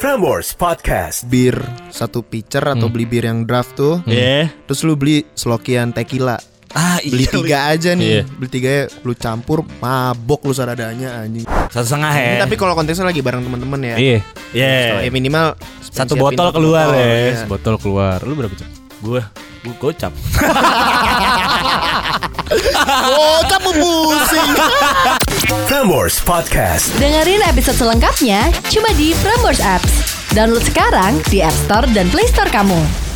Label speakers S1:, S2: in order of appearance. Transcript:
S1: Prambors Podcast.
S2: bir satu pitcher atau
S3: Hmm.
S2: beli bir yang draft tuh
S3: Iya.
S2: terus lu beli selokian tequila
S3: Ah,
S2: beli tiga aja
S3: Iya.
S2: nih beli tiga ya, lu campur mabok lu saradanya anjing
S3: Satu setengah ya.
S2: Ini tapi kalau konteksnya lagi bareng teman-teman ya
S4: Iya.
S3: Iya.
S2: Kalau ya minimal
S3: Satu
S2: siapin
S3: botol
S2: satu
S3: keluar
S2: botol,
S3: ya.
S2: iya.
S4: Botol keluar. Lu berapa jam?
S3: Gue gue gocap.
S2: Bocah mau pusing
S1: Prambors Podcast.
S5: Dengerin episode selengkapnya cuma di Prambors Apps. Download sekarang di App Store dan Play Store kamu.